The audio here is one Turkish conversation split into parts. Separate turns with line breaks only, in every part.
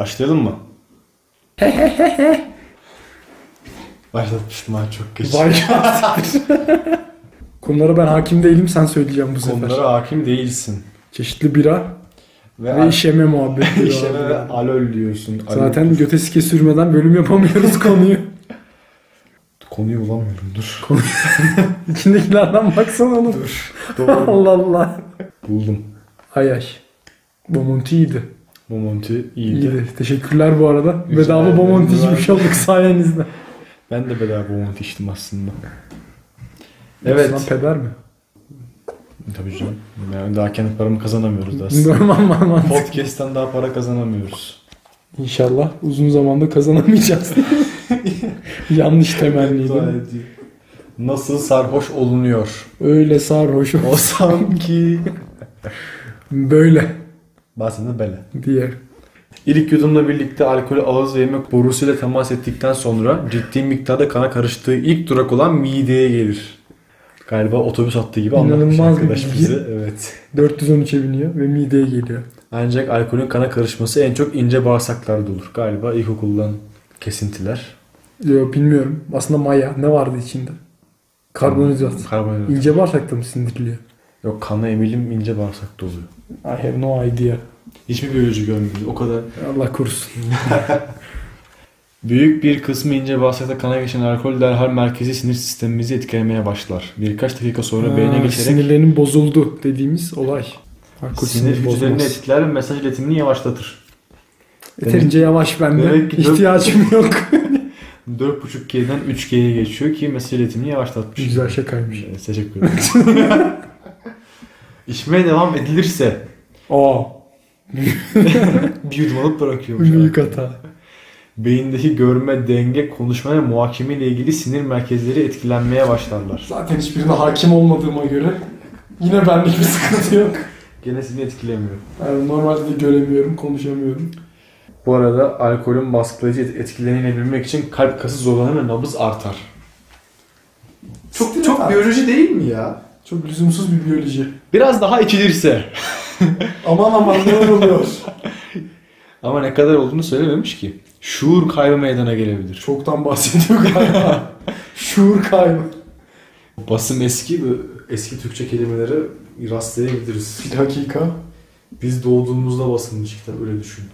Başlayalım mı? Başlatmıştım ha çok geç.
Vay Konulara ben hakim değilim sen söyleyeceğim bu sefer.
Konulara hakim değilsin.
Çeşitli bira
Ve,
ve,
al-
işeme muhabbeti.
işeme ve alol diyorsun. Alol.
Zaten göte sike sürmeden bölüm yapamıyoruz konuyu.
Konuyu bulamıyorum dur.
İçindekilerden baksana oğlum.
Dur. Doğru.
Allah Allah.
Buldum.
Ay ay. Bomonti iyiydi.
Momonti iyiydi.
İyiydi. Teşekkürler bu arada.
Rica
Bedava
ederim.
Bomonti içmiş olduk sayenizde.
Ben de bedava Momonti içtim aslında. Evet.
Lan peder mi?
Tabii canım. Yani daha kendi paramı kazanamıyoruz da aslında.
Normal normal.
Podcast'ten daha para kazanamıyoruz.
İnşallah uzun zamanda kazanamayacağız. Yanlış temenniydi.
Nasıl sarhoş olunuyor?
Öyle sarhoş ol.
O sanki.
Böyle
Bazen de bele.
diye.
İlk yudumla birlikte alkolü ağız ve yemek borusuyla temas ettikten sonra ciddi miktarda kana karıştığı ilk durak olan mideye gelir. Galiba otobüs hattı gibi anlatmış
İnanılmaz bir
arkadaş
bilgi.
bizi. Evet.
413'e biniyor ve mideye geliyor.
Ancak alkolün kana karışması en çok ince bağırsaklarda olur. Galiba ilkokuldan kesintiler.
Yo bilmiyorum. Aslında maya. Ne vardı içinde? Karbonhidrat.
Karbonhidrat.
İnce bağırsakta mı sindiriliyor?
Yok kana emilim ince bağırsakta oluyor.
I have no idea.
Hiçbir biyoloji görmüyoruz. O kadar
Allah korusun.
Büyük bir kısmı ince bağırsakta kana geçen alkol derhal merkezi sinir sistemimizi etkilemeye başlar. Birkaç dakika sonra beyne
Ha,
geçerek
Sinirlerin bozuldu dediğimiz olay. Alkol
sinir
sinir
hücrelerini
bozmaz.
etkiler ve mesaj iletimini yavaşlatır.
Yeterince yavaş bende.
Demek ki-
İhtiyacım yok.
4.5G'den 3G'ye geçiyor ki mesaj iletimini yavaşlatmış.
Güzel şakaymış.
Evet, teşekkür ederim. İçmeye devam edilirse
Aa.
bir yudum alıp bırakıyormuş.
Büyük hata.
Beyindeki görme, denge, konuşma ve muhakeme ile ilgili sinir merkezleri etkilenmeye başlarlar.
Zaten hiçbirine hakim olmadığıma göre yine benlik bir sıkıntı yok.
Gene seni etkilemiyor.
Yani normalde de göremiyorum, konuşamıyorum.
Bu arada alkolün baskılayıcı et- etkilerini bilmek için kalp kası zorlanır ve nabız artar.
Siktir et abi.
biyoloji değil mi ya?
Çok lüzumsuz bir biyoloji.
Biraz daha içilirse.
Aman aman ne oluyor?
Ama ne kadar olduğunu söylememiş ki. Şuur kaybı meydana gelebilir.
Çoktan bahsediyor galiba. Şuur kaybı.
Basım eski, bu eski Türkçe kelimelere rastlayabiliriz.
Bir dakika.
Biz doğduğumuzda basılmış kitap öyle düşün.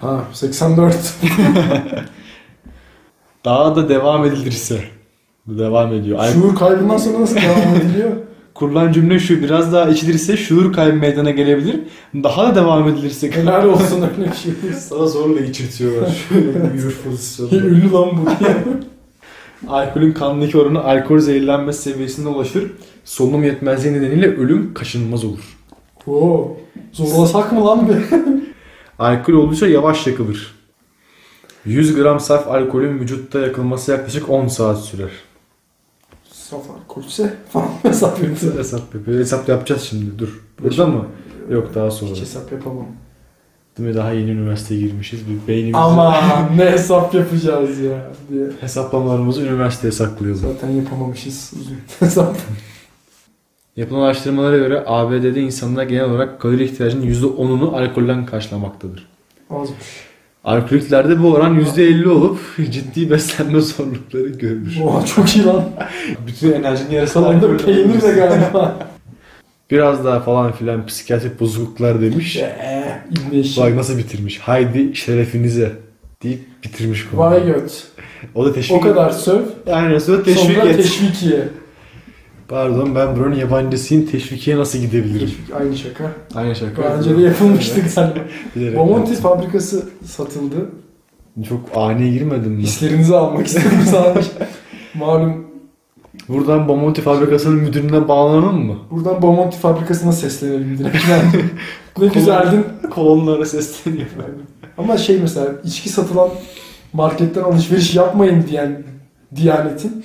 Ha 84.
Daha da devam edilirse. Bu devam ediyor. Al-
Şuur kaybından sonra nasıl devam ediliyor?
Kurulan cümle şu biraz daha içilirse şuur kaybı meydana gelebilir. Daha da devam edilirse.
Helal olsun öyle bir şey.
Sana zorla içirtiyorlar. Şöyle bir yürür
Ya
pozisyonda.
Ünlü lan bu diye.
Alkolün kandaki oranı alkol zehirlenme seviyesine ulaşır. Solunum yetmezliği nedeniyle ölüm kaçınılmaz olur.
Oo. Zorlasak mı lan be?
Alkol oldukça yavaş yakılır. 100 gram saf alkolün vücutta yakılması yaklaşık 10 saat sürer.
Safar kurse falan hesap yaptı.
Hesap, yapıyor. hesap yapacağız şimdi dur. Burada mı? Yok daha sonra.
Hiç hesap yapamam.
Değil mi? Daha yeni üniversiteye girmişiz. Bir beynimizi
Aman ne hesap yapacağız ya diye.
hesaplamalarımızı üniversiteye saklıyoruz.
Zaten yapamamışız uzun hesap.
Yapılan araştırmalara göre ABD'de insanlar genel olarak kalori ihtiyacının %10'unu alkolden karşılamaktadır.
Azmış.
Alkoliklerde bu oran %50 olup ciddi beslenme zorlukları görülür.
Oha çok iyi lan.
Bütün enerjini yarısı
Kalan da peynir de galiba.
Biraz daha falan filan psikiyatrik bozukluklar demiş.
Eee, İbne işi.
Bak nasıl bitirmiş. Haydi şerefinize deyip bitirmiş konuyu.
Vay göt.
O da teşvik
O kadar söv.
Aynen sonra teşvik
sonra
et.
teşvikiye.
Pardon ben buranın yabancısıyım. Teşvikiye nasıl gidebilirim?
Teşvik aynı şaka.
Aynı şaka.
Daha önce de yapılmıştı galiba.
Bilerek
Bomonti
yaptım.
fabrikası satıldı.
Çok ani girmedim mi?
Hislerinizi almak istedim sadece. Malum
Buradan Bomonti fabrikasının müdürüne bağlanalım mı?
buradan Bomonti fabrikasına seslenelim direkt. Yani ne güzeldin.
Kolonlara sesleniyor.
Ama şey mesela içki satılan marketten alışveriş yapmayın diyen Diyanet'in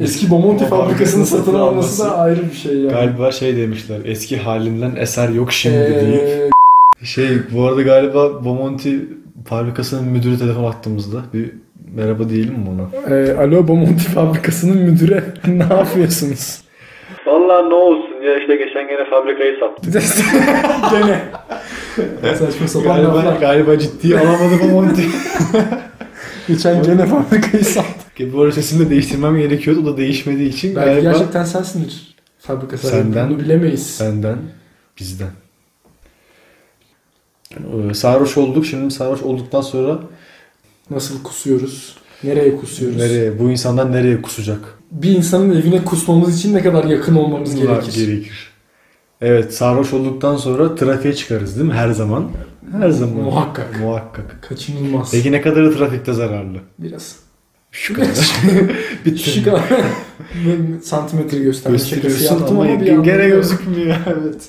eski Bomonti fabrikasını satın alması da ayrı bir şey yani.
Galiba şey demişler. Eski halinden eser yok şimdi deyip.
Ee,
Şey bu arada galiba Bomonti fabrikasının müdürü telefon attığımızda bir merhaba diyelim mi ona?
e, alo Bomonti fabrikasının müdüre ne yapıyorsunuz?
Vallahi ne olsun diye işte geçen gene fabrikayı sattı.
Gene. Saçma sapan
Galiba,
laflar.
galiba ciddiye alamadım ama onu diye-
Geçen gene fabrikayı sattı.
Ki Bu arada sesini de değiştirmem gerekiyordu. O da değişmediği için
Belki
galiba
gerçekten sensindir. Fabrika sahibi.
Senden.
Bunu bilemeyiz.
senden, bizden. Ee, sarhoş olduk. Şimdi sarhoş olduktan sonra
Nasıl kusuyoruz? Nereye kusuyoruz?
nereye, bu insandan nereye kusacak?
Bir insanın evine kusmamız için ne kadar yakın olmamız
Bunlar
gerekir?
gerekir. Evet sarhoş olduktan sonra trafiğe çıkarız değil mi? Her zaman. Her zaman.
Muhakkak.
Muhakkak.
Kaçınılmaz.
Peki ne kadarı trafikte zararlı?
Biraz.
Şu kadar. Bitti.
Şu kadar. Santimetre gösterme şakası
Gösteriyorsun
yaptım
ama,
ama, bir
ama
yandan
gene
da-
gözükmüyor. evet.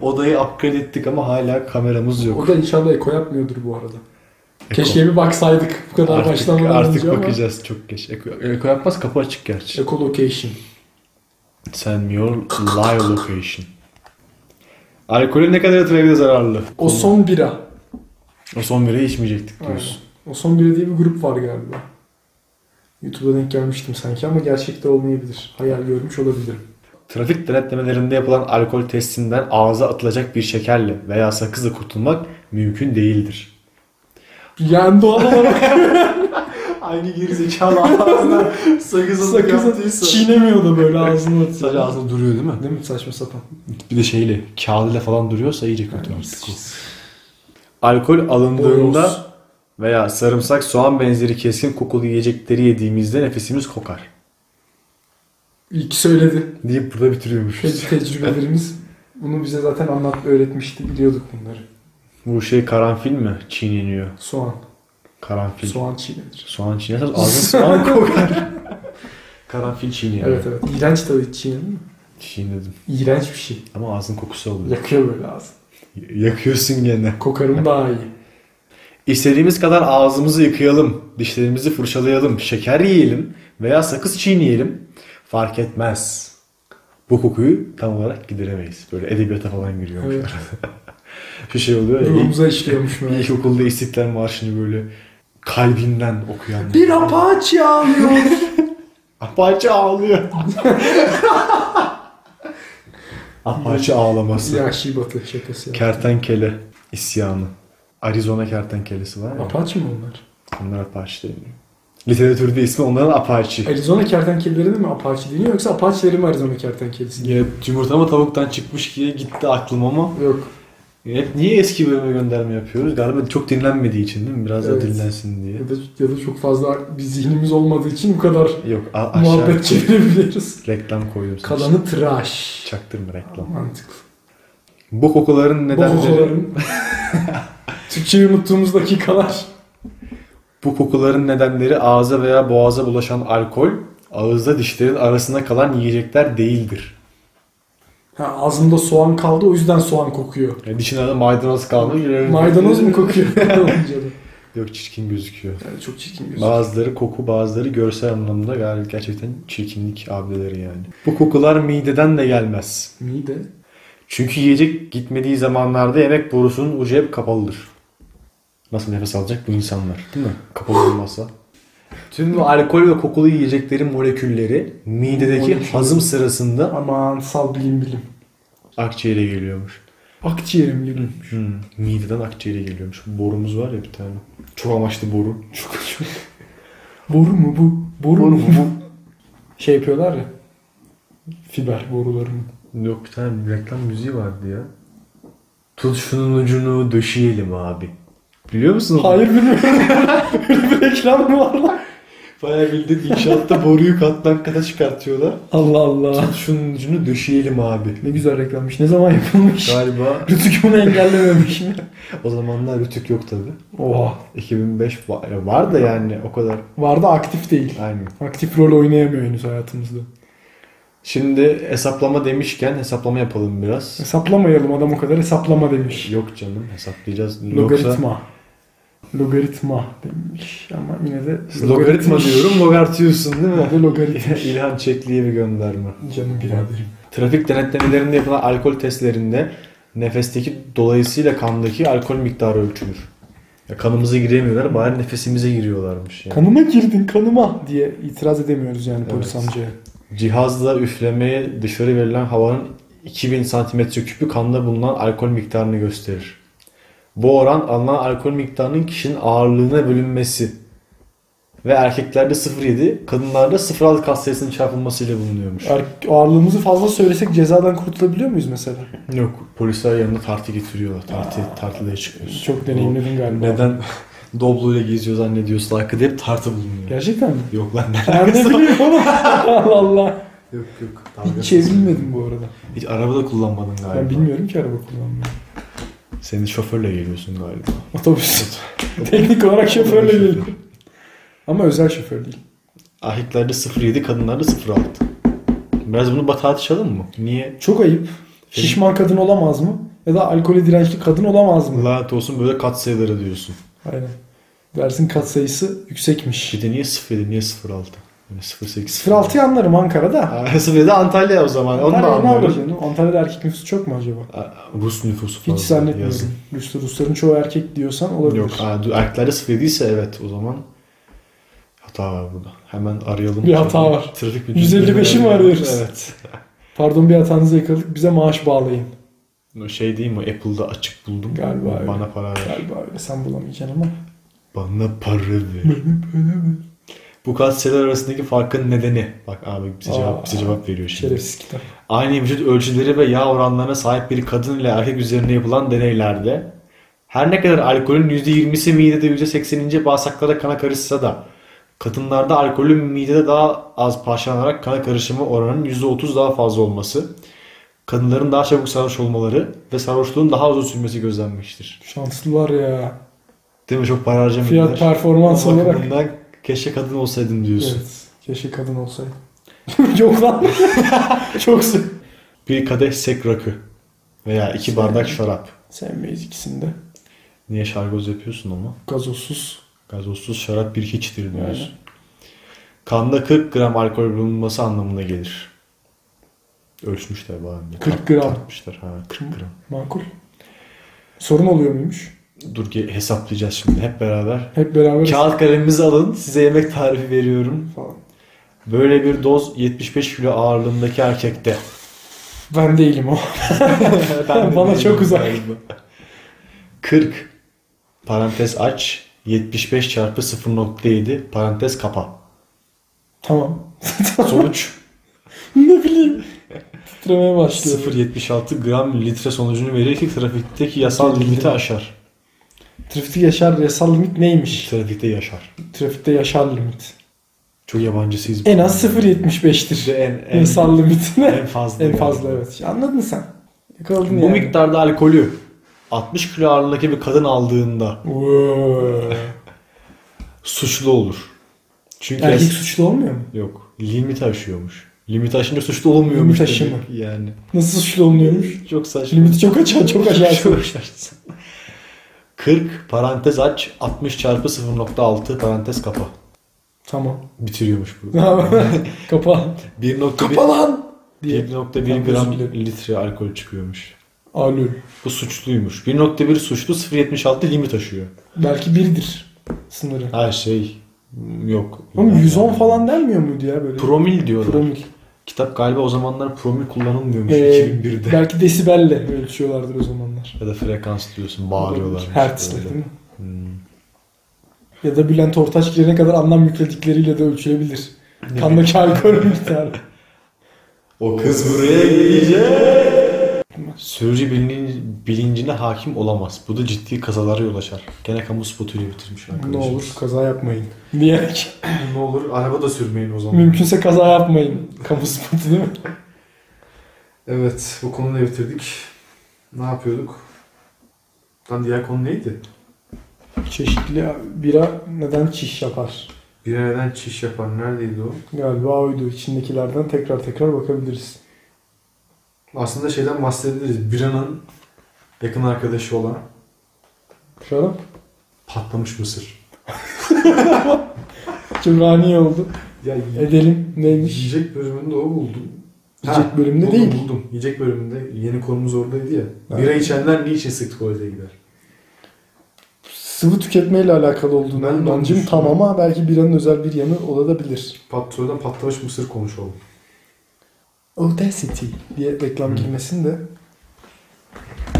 Odayı upgrade ettik ama hala kameramız yok.
O da inşallah eko yapmıyordur bu arada.
Eko.
Keşke bir baksaydık bu kadar
artık,
başlamadan
artık
önce ama.
bakacağız çok geç. Eko, Eko yapmaz kapı açık gerçi.
Eko location.
Send me your live location. Alkolün ne kadar trafiğe zararlı?
O son bira.
O son biri içmeyecektik
Aynen.
diyorsun.
O son bira diye bir grup var galiba. YouTube'a denk gelmiştim sanki ama gerçekte olmayabilir. Hayal görmüş olabilirim.
Trafik denetlemelerinde yapılan alkol testinden ağza atılacak bir şekerle veya sakızla kurtulmak mümkün değildir.
Yani doğal olarak
Aynı gerizekalı ağzına sakızı
sakızı çiğnemiyor da böyle ağzını atıyor.
Sadece ağzında duruyor değil mi?
Değil mi saçma sapan?
Bir de şeyle, kağıdıyla falan duruyorsa iyice kötü artık. o. Alkol alındığında
Boyoz.
veya sarımsak, soğan benzeri keskin kokulu yiyecekleri yediğimizde nefesimiz kokar.
İlk söyledi.
Deyip burada bitiriyormuşuz.
Te- tecrübelerimiz bunu bize zaten anlat öğretmişti. Biliyorduk bunları.
Bu şey karanfil mi? Çiğneniyor.
Soğan.
Karanfil. Soğan,
Soğan çiğnenir.
çiğnersen ağzın soğan kokar. karanfil çiğniyor.
Evet evet. İğrenç tabii çiğnenir mi?
Çiğnedim.
İğrenç bir şey.
Ama ağzın kokusu oluyor.
Yakıyor böyle ağzı.
Yakıyorsun gene.
Kokarım daha iyi.
İstediğimiz kadar ağzımızı yıkayalım, dişlerimizi fırçalayalım, şeker yiyelim veya sakız çiğneyelim fark etmez. Bu kokuyu tam olarak gideremeyiz. Böyle edebiyata falan giriyormuş.
Evet.
arada. Şu şey oluyor ya. ilk-
Ruhumuza işliyormuş meğer.
İlkokulda İstiklal Marşı'nı böyle kalbinden okuyan.
Bir apaçi ağlıyor.
Apache ağlıyor. Apache ağlaması.
Yahşi batı şakası ya.
Kertenkele isyanı. Arizona kertenkelesi var ya.
Apache mi onlar?
Onlar Apache deniyor. Literatürde ismi onların Apache.
Arizona kertenkeleri mi Apache deniyor yoksa Apache'leri mi Arizona kertenkelesi?
Yine yumurta mı tavuktan çıkmış ki gitti aklım ama
Yok.
hep niye eski bölüme gönderme yapıyoruz? Galiba çok dinlenmediği için değil mi? Biraz
Evet.
da dinlensin diye.
Ya da, ya da çok fazla bir zihnimiz olmadığı için bu kadar
Yok a- aşağı
muhabbet çevirebiliriz.
reklam koyuyoruz.
Kalanı tıraş.
Çaktırma reklam.
Mantıklı.
Bu kokuların nedenleri...
Bokoların. Türkçeyi unuttuğumuz dakikalar.
Bu kokuların nedenleri ağza veya boğaza bulaşan alkol, ağızda dişlerin arasında kalan yiyecekler değildir.
Ha, ağzımda soğan kaldı o yüzden soğan kokuyor.
Yani E, dişin arasında maydanoz kalmış.
Maydanoz mu kokuyor? Olunca da.
Yok çirkin gözüküyor.
yani çok çirkin bir
Bazıları koku, bazıları görsel anlamda gayet gerçekten çirkinlik abdeleri yani. Bu kokular mideden de gelmez.
Mide.
Çünkü yiyecek gitmediği zamanlarda yemek borusunun ucu hep kapalıdır. Nasıl nefes alacak bu insanlar değil mi? Kapalı olmasa. Tüm bu alkol ve kokulu yiyeceklerin molekülleri midedeki
Molekül.
hazım sırasında
Aman sal bilim bilim.
akciğere geliyormuş.
Akciğerim gibi.
Hmm, mideden akciğere geliyormuş. Borumuz var ya bir tane. Çok amaçlı boru. Çok, çok.
Boru mu bu? Boru,
Boru
mu
mu
bu? Şey yapıyorlar ya. Fiber borularını.
Yok bir tane reklam müziği vardı ya. Tut şunun ucunu döşeyelim abi. Biliyor musun? onu?
Hayır bilmiyorum. Öyle bir reklam mı var lan?
Bayağı bildiğin inşaatta boruyu kattan kata çıkartıyorlar.
Allah Allah.
Tut şunun ucunu döşeyelim abi.
Ne güzel reklammış. Ne zaman yapılmış?
Galiba
Rütük bunu engellememiş mi?
o zamanlar Rütük yok tabi.
Oha.
2005 var, var da yani o kadar.
Vardı aktif değil.
Aynen.
Aktif rol oynayamıyor henüz hayatımızda.
Şimdi hesaplama demişken hesaplama yapalım biraz.
Hesaplamayalım adam o kadar hesaplama demiş.
Yok canım hesaplayacağız. Yoksa
Logaritma. Logaritma demiş ama yine de
logaritma diyorum logartıyorsun değil mi?
Ve logaritma.
İlhan Çekli'ye bir gönderme.
Canım biraderim.
Trafik denetlemelerinde yapılan alkol testlerinde nefesteki dolayısıyla kandaki alkol miktarı ölçülür. Ya kanımıza giremiyorlar bari nefesimize giriyorlarmış. Yani.
Kanıma girdin kanıma diye itiraz edemiyoruz yani polis
Evet.
amcaya.
Cihazla üflemeye dışarı verilen havanın 2000 santimetre küpü kanda bulunan alkol miktarını gösterir. Bu oran alınan alkol miktarının kişinin ağırlığına bölünmesi ve erkeklerde 0.7, kadınlarda 0.6 kas sayısının çarpılmasıyla bulunuyormuş.
Er- Ağırlığımızı fazla söylesek cezadan kurtulabiliyor muyuz mesela?
Yok, polisler yanına tartı getiriyorlar. Tartı, tartıda çıkıyoruz.
Çok deneyimledin galiba.
Neden Doblo ile geziyor zannediyorsun arkada hep tartı bulunuyor.
Gerçekten mi?
Yok lan ne
Ben ne
alakası var?
bileyim oğlum. Allah Allah.
Yok yok.
Hiç çevrilmedim bu arada.
Hiç arabada kullanmadın galiba.
Ben bilmiyorum ki araba kullanmayı.
Senin şoförle geliyorsun galiba.
Otobüs. Teknik olarak şoförle değil. Ama özel şoför değil.
Erkeklerde 0.7, kadınlarda 0.6. Biraz bunu batağa atışalım mı? Niye?
Çok ayıp. Şişman kadın olamaz mı? Ya da alkole dirençli kadın olamaz mı?
Lanet olsun böyle kat sayıları diyorsun.
Aynen. Dersin katsayısı yüksekmiş.
Bir de niye 0.7, niye 0.6? Yani 0.8.
06'yı anlarım Ankara'da.
0.7 Antalya o zaman. Onu da
Antalya'da ne
anlıyorum.
yapacaksın? Antalya'da erkek nüfusu çok mu acaba?
Aa, Rus nüfusu
Hiç
fazla. yazın.
zannetmiyorum. Ruslu Rusların çoğu erkek diyorsan olabilir.
Yok aa, du- erkeklerde 0.7 ise evet o zaman hata var burada. Hemen arayalım.
Bir hata var.
Trafik
155'i mi arıyoruz?
Evet.
Pardon bir hatanızı yakaladık. Bize maaş bağlayın.
Şey değil mi? Apple'da açık buldum.
Galiba öyle.
Bana para ver.
Galiba öyle sen bulamayacaksın ama.
Bana para ver. Bu katsayılar arasındaki farkın nedeni. Bak abi bize cevap,
Aa,
bize cevap veriyor şimdi.
Şerefsiz kitap.
Aynı vücut ölçüleri ve yağ oranlarına sahip bir kadın ile erkek üzerine yapılan deneylerde her ne kadar alkolün %20'si midede %80'ince bağırsaklara kana karışsa da kadınlarda alkolün midede daha az parçalanarak kana karışımı oranının %30 daha fazla olması, kadınların daha çabuk sarhoş olmaları ve sarhoşluğun daha uzun sürmesi gözlenmiştir.
Şanslılar ya.
Değil mi? Çok para harcamıyorlar.
Fiyat performans
O
olarak.
bakımdan keşke kadın olsaydım diyorsun.
Evet. Keşke kadın olsaydı. Yok lan. Çok sık.
Bir kadeh sek rakı veya iki bardak şarap.
Sevmeyiz ikisini de.
Niye şargoz yapıyorsun ama?
Gazozsuz.
Gazozsuz şarap bir hiçtir diyoruz. Kanda 40 gram alkol bulunması anlamına gelir. Ölçmüşler bayağı.
40 gram.
Tartmışlar. Ha, 40 gram.
Makul. Sorun oluyor muymuş?
Dur ki hesaplayacağız şimdi hep beraber.
Hep beraber
Kağıt kalemimizi alın. Size yemek tarifi veriyorum.
falan.
Böyle bir doz 75 kilo ağırlığındaki erkekte.
Ben değilim o.
Ben de
Bana
değilim
çok uzak.
galiba. 40 parantez aç 75 çarpı 0.7 parantez kapa.
tamam.
Sonuç
ne bileyim. Titremeye başlıyor.
0.76 gram litre sonucunu verir ki trafikteki yasal
Belli.
limiti aşar.
Trafikte yaşar yasal limit neymiş?
Trafikte yaşar.
Trafikte yaşar limit.
Çok yabancısıyız. bu
En az
konuda.
0.75'tir.
En, en,
Yasal limitine.
en fazla.
En
yani.
fazla evet. Anladın sen.
Bu
Yakaladın yani.
miktarda alkolü 60 kilo ağırlığındaki bir kadın aldığında
Wow.
suçlu olur. Çünkü
Erkek
es-
suçlu olmuyor mu?
Yok. Limit aşıyormuş. Limit aşınca suçlu olmuyormuş.
Limit aşımı.
demek Yani.
Nasıl suçlu olmuyormuş?
Çok saçma.
Limiti çok açar, çok açarsın.
Çok aşarsın. 40 parantez aç 60 çarpı 0.6 parantez kapa.
tamam.
Bitiriyormuş bu.
Kapa.
1.1
Kapa lan! Diye.
1.1
Ben
gram
özür dilerim.
litre alkol çıkıyormuş.
Alül.
Bu suçluymuş. 1.1 suçlu 0.76 limit aşıyor.
Belki biridir sınırı.
Her şey m, yok.
Oğlum 110 falan denmiyor muydu ya böyle?
Promil diyorlar.
Promil.
Kitap galiba o zamanlar promil kullanılmıyormuş
Ee,
2001'de.
belki desibelle ölçüyorlardır o zamanlar.
Ya da frekans diyorsun bağırıyorlar.
Hertz'le
Böyle.
değil mi?
Hmm.
Ya da Bülent Ortaç girene kadar anlam yükledikleriyle de ölçülebilir. Kandaki alkol miktarı.
O kız buraya gelecek. Sürücü bilin- bilincine hakim olamaz. Bu da ciddi kazalara yol açar. Gene kamu spotuyla bitirmiş arkadaşım.
ne olur kaza yapmayın. Diyerek.
Ne olur araba da sürmeyin o zaman.
Mümkünse kaza yapmayın. Kamu spotu değil mi?
Evet, bu konuda bitirdik. Ne yapıyorduk? Lan diğer konu neydi?
Çeşitli bira neden çiş yapar?
Bir neden çiş yapan neredeydi o?
Galiba oydu. İçindekilerden tekrar tekrar bakabiliriz.
Aslında şeyden bahsedebiliriz. Bira'nın yakın arkadaşı olan
Şarap.
patlamış mısır.
Cimrani oldu.
Ya
Edelim. Neymiş?
yiyecek bölümünde o buldum.
Yiyecek bölümde
buldum,
değil.
Buldum. Yiyecek bölümünde yeni konumuz oradaydı ya.
Evet.
Bira içenler niçin sık tuvalete gider?
Sıvı tüketmeyle alakalı
Ben
olduğunu
de onu
inancım tam
düşünüyorum.
ama belki biranın özel bir yanı olabilir.
Pat, sonradan patlamış mısır konuşalım.
Audacity diye reklam girmesin de.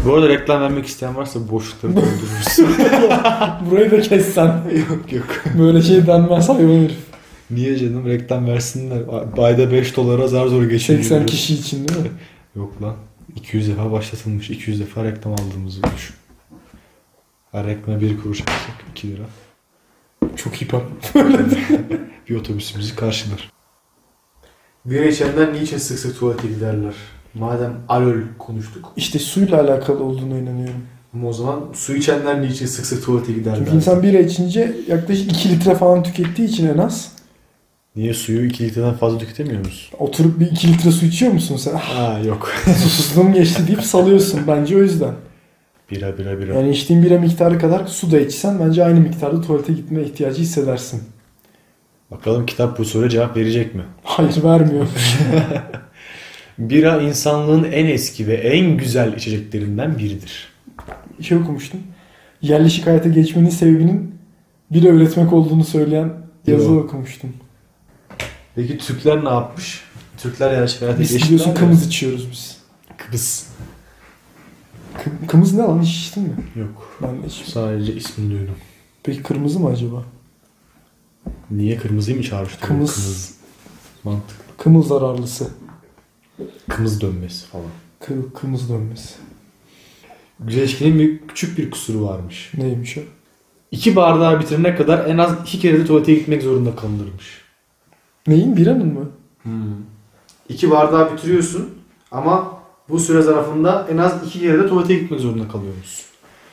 Bu arada reklam vermek isteyen varsa boşlukları doldurursun.
Burayı da kessen.
yok yok.
Böyle şey denmez hayvan herif.
Niye canım reklam versinler. Ayda 5 dolara zar zor geçiyor.
80 kişi için değil mi?
Yok lan. 200 defa başlatılmış. 200 defa reklam aldığımızı düşün. Her reklama 1 kuruş alsak 2 lira.
Çok iyi pop.
Bir otobüsümüzü karşılar. Güneşenden niçin sık sık tuvalete giderler? Madem alol konuştuk.
İşte suyla alakalı olduğunu inanıyorum.
Ama o zaman su içenler niçin sık sık tuvalete giderler?
Çünkü insan bira içince yaklaşık 2 litre falan tükettiği için en az.
Niye suyu 2 litreden fazla tüketemiyor musun?
Oturup bir 2 litre su içiyor musun sen? Ah,
Aa yok.
Susuzluğum geçti deyip salıyorsun bence o yüzden.
bira bira bira.
Yani içtiğin bira miktarı kadar su da içsen bence aynı miktarda tuvalete gitme ihtiyacı hissedersin.
Bakalım kitap bu soruya cevap verecek mi?
Hayır vermiyor.
Bira insanlığın en eski ve en güzel içeceklerinden biridir.
şey okumuştum. Yerleşik hayata geçmenin sebebinin bira üretmek olduğunu söyleyen yazı
Yo.
okumuştum.
Peki Türkler ne yapmış? Türkler yerleşik hayata
Biz
geçtiler
biliyorsun
mi?
kımız içiyoruz biz.
Kıbrıs.
Kı- kımız ne lan hiç içtin mi?
Yok.
Ben de içmedim.
Sadece ismini duydum.
Peki kırmızı mı acaba?
Niye kırmızıyı mı çağrıştırıyor?
Kımız.
Mantık.
Kımız zararlısı.
Kımız dönmesi falan.
Kı- kımız dönmesi.
Güneşkinin bir küçük bir kusuru varmış.
Neymiş o?
İki bardağı bitirene kadar en az iki kere de tuvalete gitmek zorunda kalınırmış.
Neyin biranın mı?
Hmm. İki bardağı bitiriyorsun ama bu süre zarfında en az iki kere de tuvalete gitmek zorunda kalıyorsun.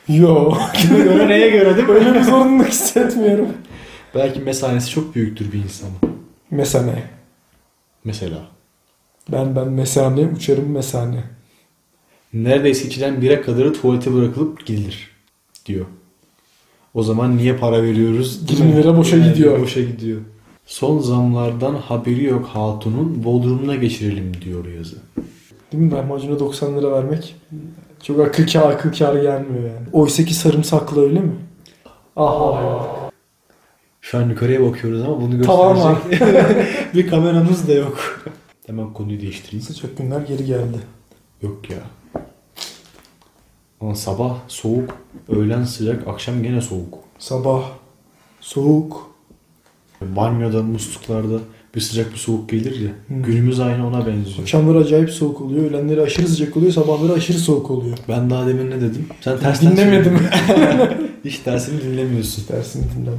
Yo.
Kime göre neye göre değil mi?
Öyle bir zorunluluk hissetmiyorum.
Belki mesanesi çok büyüktür bir insanın.
Mesane.
Mesela.
Ben ben mesane uçarım mesane.
Neredeyse içilen bire kadarı tuvalete bırakılıp gidilir. Diyor. O zaman niye para veriyoruz? değil mi?
20 lira boşa
Yani
gidiyor.
Boşa gidiyor. Son zamlardan haberi yok hatunun Bodrum'una geçirelim diyor yazı.
Değil mi? Lahmacuna 90 lira vermek çok akıl kâr, akıl kârı gelmiyor yani. Oysa ki sarımsaklı öyle mi? Ah, Aha.
Şu an yukarıya bakıyoruz ama bunu gösterecek
Tavan var.
bir kameramız da yok. Hemen konuyu değiştireyim.
Sıcak günler geri geldi.
Yok ya. Ama sabah soğuk, öğlen sıcak, akşam gene soğuk.
Sabah. Soğuk.
Banyoda, musluklarda bir sıcak bir soğuk gelir ya.
Hı.
Günümüz aynı ona benziyor.
Akşamları acayip soğuk oluyor. Öğlenleri aşırı sıcak oluyor. Sabahları aşırı soğuk oluyor.
Ben daha demin ne dedim? Sen tersten
Dinlemedim.
çıktın. Hiç dersimi dinlemiyorsun.
Dersimi dinlemem.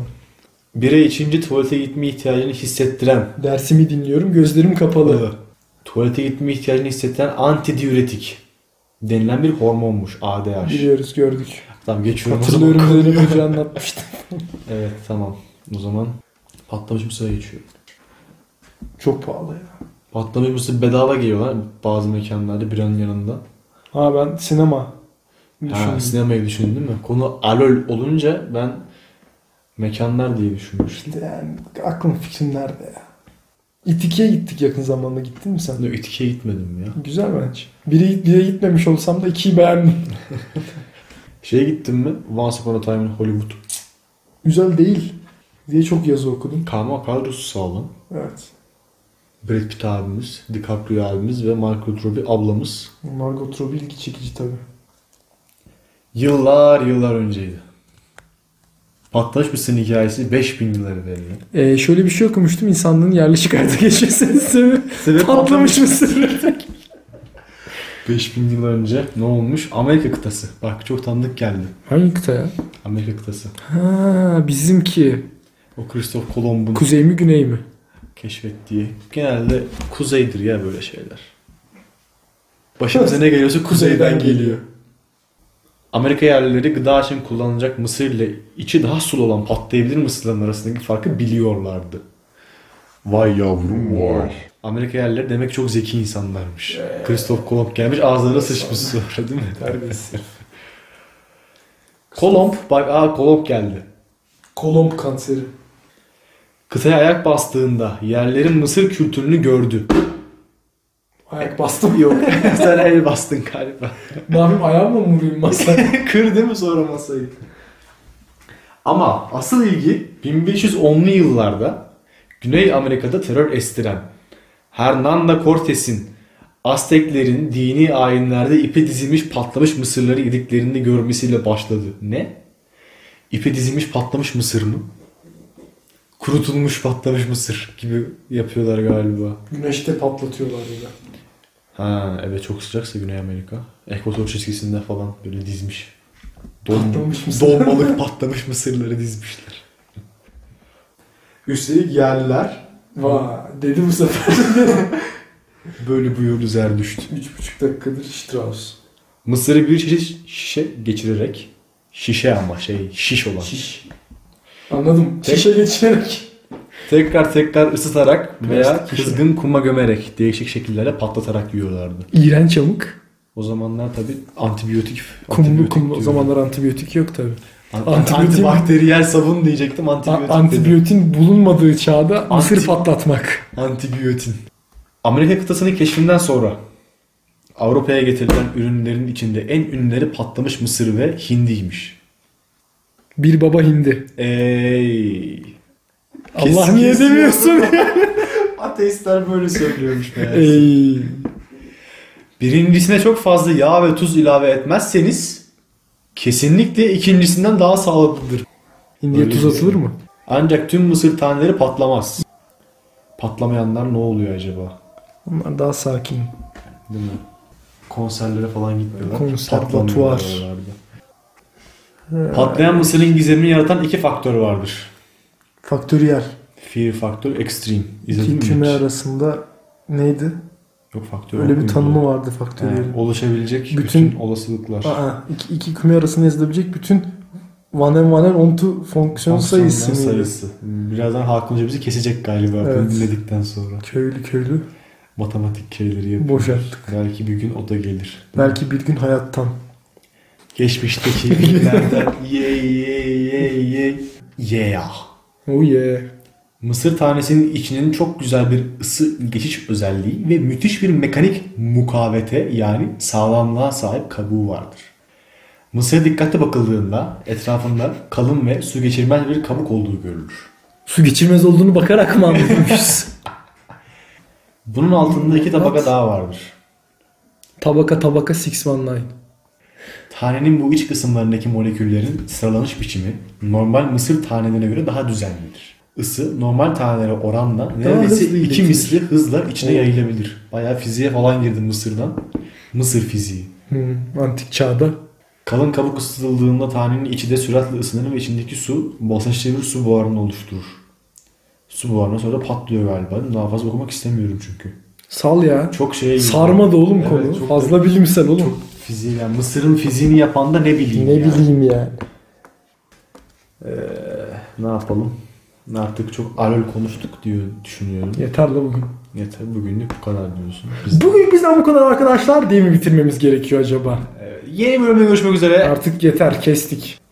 Bire içince tuvalete gitme ihtiyacını hissettiren.
Dersimi dinliyorum. Gözlerim kapalı.
Tuvalete gitme ihtiyacını hissettiren antidiüretik denilen bir hormonmuş ADH.
Biliyoruz gördük.
Tamam geçiyorum o zaman.
Hatırlıyorum böyle önce anlatmıştım.
Evet tamam. O zaman patlamış mısıra geçiyor.
Çok pahalı ya.
Patlamış mısır bedava geliyorlar bazı mekanlarda bir an yanında.
Ha ben sinema.
Ha,
düşündüm.
sinemayı düşündün mü? Konu alol olunca ben mekanlar diye düşünmüştüm.
Yani aklım fikrim nerede ya? İtiki'ye gittik yakın zamanda. Gittin mi sen?
Ben de İTK'ye gitmedim ya.
Güzel bence. Biri, bire gitmemiş olsam da ikiyi beğendim.
Şeye gittin mi? Once Upon a Time in Hollywood.
Güzel değil diye çok yazı okudum.
Kama kadrosu sağlam.
Evet.
Brad Pitt abimiz, DiCaprio abimiz ve Margot Robbie ablamız.
Margot Robbie ilgi çekici tabii.
Yıllar yıllar önceydi. Patlamış mısırın hikayesi 5000 yıl evveldi.
Ee, şöyle bir şey okumuştum. İnsanlığın yerleşik hayata geçmesinin sebebi
Sebep
patlamış mısır.
5000 yıl önce ne olmuş? Amerika kıtası. Bak çok tanıdık geldi.
Hangi kıta ya?
Amerika kıtası.
Ha, bizimki.
O Christoph Kolomb'un
Kuzey mi güney mi?
keşfettiği. Genelde kuzeydir ya böyle şeyler. Başımıza ne geliyorsa kuzeyden geliyor. Amerika yerlileri gıda için kullanılacak mısır ile içi daha sulu olan patlayabilir mısırların arasındaki farkı biliyorlardı. Vay yavrum vay. Amerika yerlileri demek çok zeki insanlarmış. Christoph Kolomb gelmiş ağzına sıçmış sonra değil mi?
Terbiyesiz.
Kolomb bak aa Kolomb geldi.
Kolomb kanseri.
Kıtaya ayak bastığında yerlerin mısır kültürünü gördü.
Ayak bastım.
Yok sen el bastın galiba.
ne yapayım ayağımla mı vurayım masaya?
Kır değil mi sonra masayı? Ama asıl ilgi 1510'lu yıllarda Güney Amerika'da terör estiren Hernando Cortes'in Azteklerin dini ayinlerde ipe dizilmiş patlamış mısırları yediklerini görmesiyle başladı. Ne? İpe dizilmiş patlamış mısır mı? Kurutulmuş patlamış mısır gibi yapıyorlar galiba.
Güneşte patlatıyorlar ya.
Ha evet çok sıcaksa Güney Amerika. Ekvator çizgisinde falan böyle dizmiş.
Patlamış mısır.
Donmalık patlamış mısırları dizmişler. Üstelik yerliler
Vay dedi bu sefer.
böyle buyurdu er düştü.
3,5 dakikadır Strauss.
Mısırı bir şişe, şişe geçirerek şişe ama şey şiş olan.
Şiş. Anladım.
Tek-
Şişe geçirerek.
Tekrar tekrar ısıtarak veya
Plastik şişe.
kızgın kuma gömerek değişik şekillere patlatarak yiyorlardı.
İğrenç amık.
O zamanlar tabi antibiyotik.
Kumlu
antibiyotik
kumlu. O
diyorum.
zamanlar antibiyotik yok tabi.
An-
antibiyotik-
antibakteriyel sabun diyecektim antibiyotik. dedim.
Antibiyotin bulunmadığı çağda mısır
Anti-
patlatmak.
Antibiyotin. Amerika kıtasının keşfinden sonra Avrupa'ya getirilen ürünlerin içinde en ünlüleri patlamış mısır ve hindiymiş.
Bir baba hindi.
Ey.
Allah niye
Kesin-
demiyorsun?
Ateistler böyle söylüyormuş meğerse.
Ey.
Birincisine çok fazla yağ ve tuz ilave etmezseniz kesinlikle ikincisinden daha sağlıklıdır.
Hindiye
Öyle
tuz
bir-
atılır mı?
Ancak tüm mısır taneleri patlamaz. Patlamayanlar ne oluyor acaba?
Onlar daha sakin.
Değil mi? Konserlere falan gitmiyorlar.
Konser,
Patlamıyorlar
batuvar.
oralarda.
Ee,
Patlayan mısırın gizemini yaratan iki faktör vardır.
Faktöriyel.
Fear faktör, extreme. İzledin
İki
mi
küme
hiç?
arasında neydi?
Yok faktör.
Öyle bir tanımı
var.
vardı faktöriyelin.
oluşabilecek bütün,
Bütün-
olasılıklar.
Aa, iki, iki küme arasında yazılabilecek bütün one and one and onto fonksiyon
Fonksiyonların
sayısı mıydı?
sayısı. Birazdan Hakan Hoca bizi kesecek galiba
Evet.
bunu dinledikten sonra.
Köylü köylü
Matematik şeyleri yapıyor.
boşalttık.
Belki bir gün o da gelir.
Belki bir gün hayattan.
Geçmişteki bilgilerden ye ye ye ye ye ya.
Oh yeah.
Mısır tanesinin içinin çok güzel bir ısı geçiş özelliği ve müthiş bir mekanik mukavete yani sağlamlığa sahip kabuğu vardır. Mısır'a dikkatli bakıldığında etrafında kalın ve su geçirmez bir kabuk olduğu görülür.
Su geçirmez olduğunu bakarak mı anlamışız?
Bunun altında iki tabaka
What?
daha vardır.
tabaka tabaka six one nine.
Tanenin bu iç kısımlarındaki moleküllerin sıralanış biçimi normal mısır tanelerine göre daha düzenlidir. Isı normal tanelere oranla
hızlı
neredeyse iki
iletilir.
misli hızla içine
Oo.
yayılabilir. Bayağı fiziğe falan girdim mısırdan. Mısır fiziği.
Hmm, antik çağda.
Kalın kabuk ısıtıldığında tanenin içi de süratle ısınır ve içindeki su basınçlı bir su buharını oluşturur. Su buharına sonra patlıyor galiba. Daha fazla okumak istemiyorum çünkü.
Sal ya.
Çok şeye girdim.
Sarma da oğlum
Evet,
konu.
çok-
Fazla bilimsel oğlum.
Çok fiziği yani Mısır'ın fiziğini yapan da ne bileyim
ne
yani.
bileyim yani.
Ne yapalım? Artık çok alol konuştuk diyor düşünüyorum.
Yeter la bugün.
Yeter bugünlük bu kadar diyorsun. Biz...
Bugün bizden bu kadar arkadaşlar diye mi bitirmemiz gerekiyor acaba?
Ee, yeni bölümde görüşmek üzere.
Artık yeter kestik.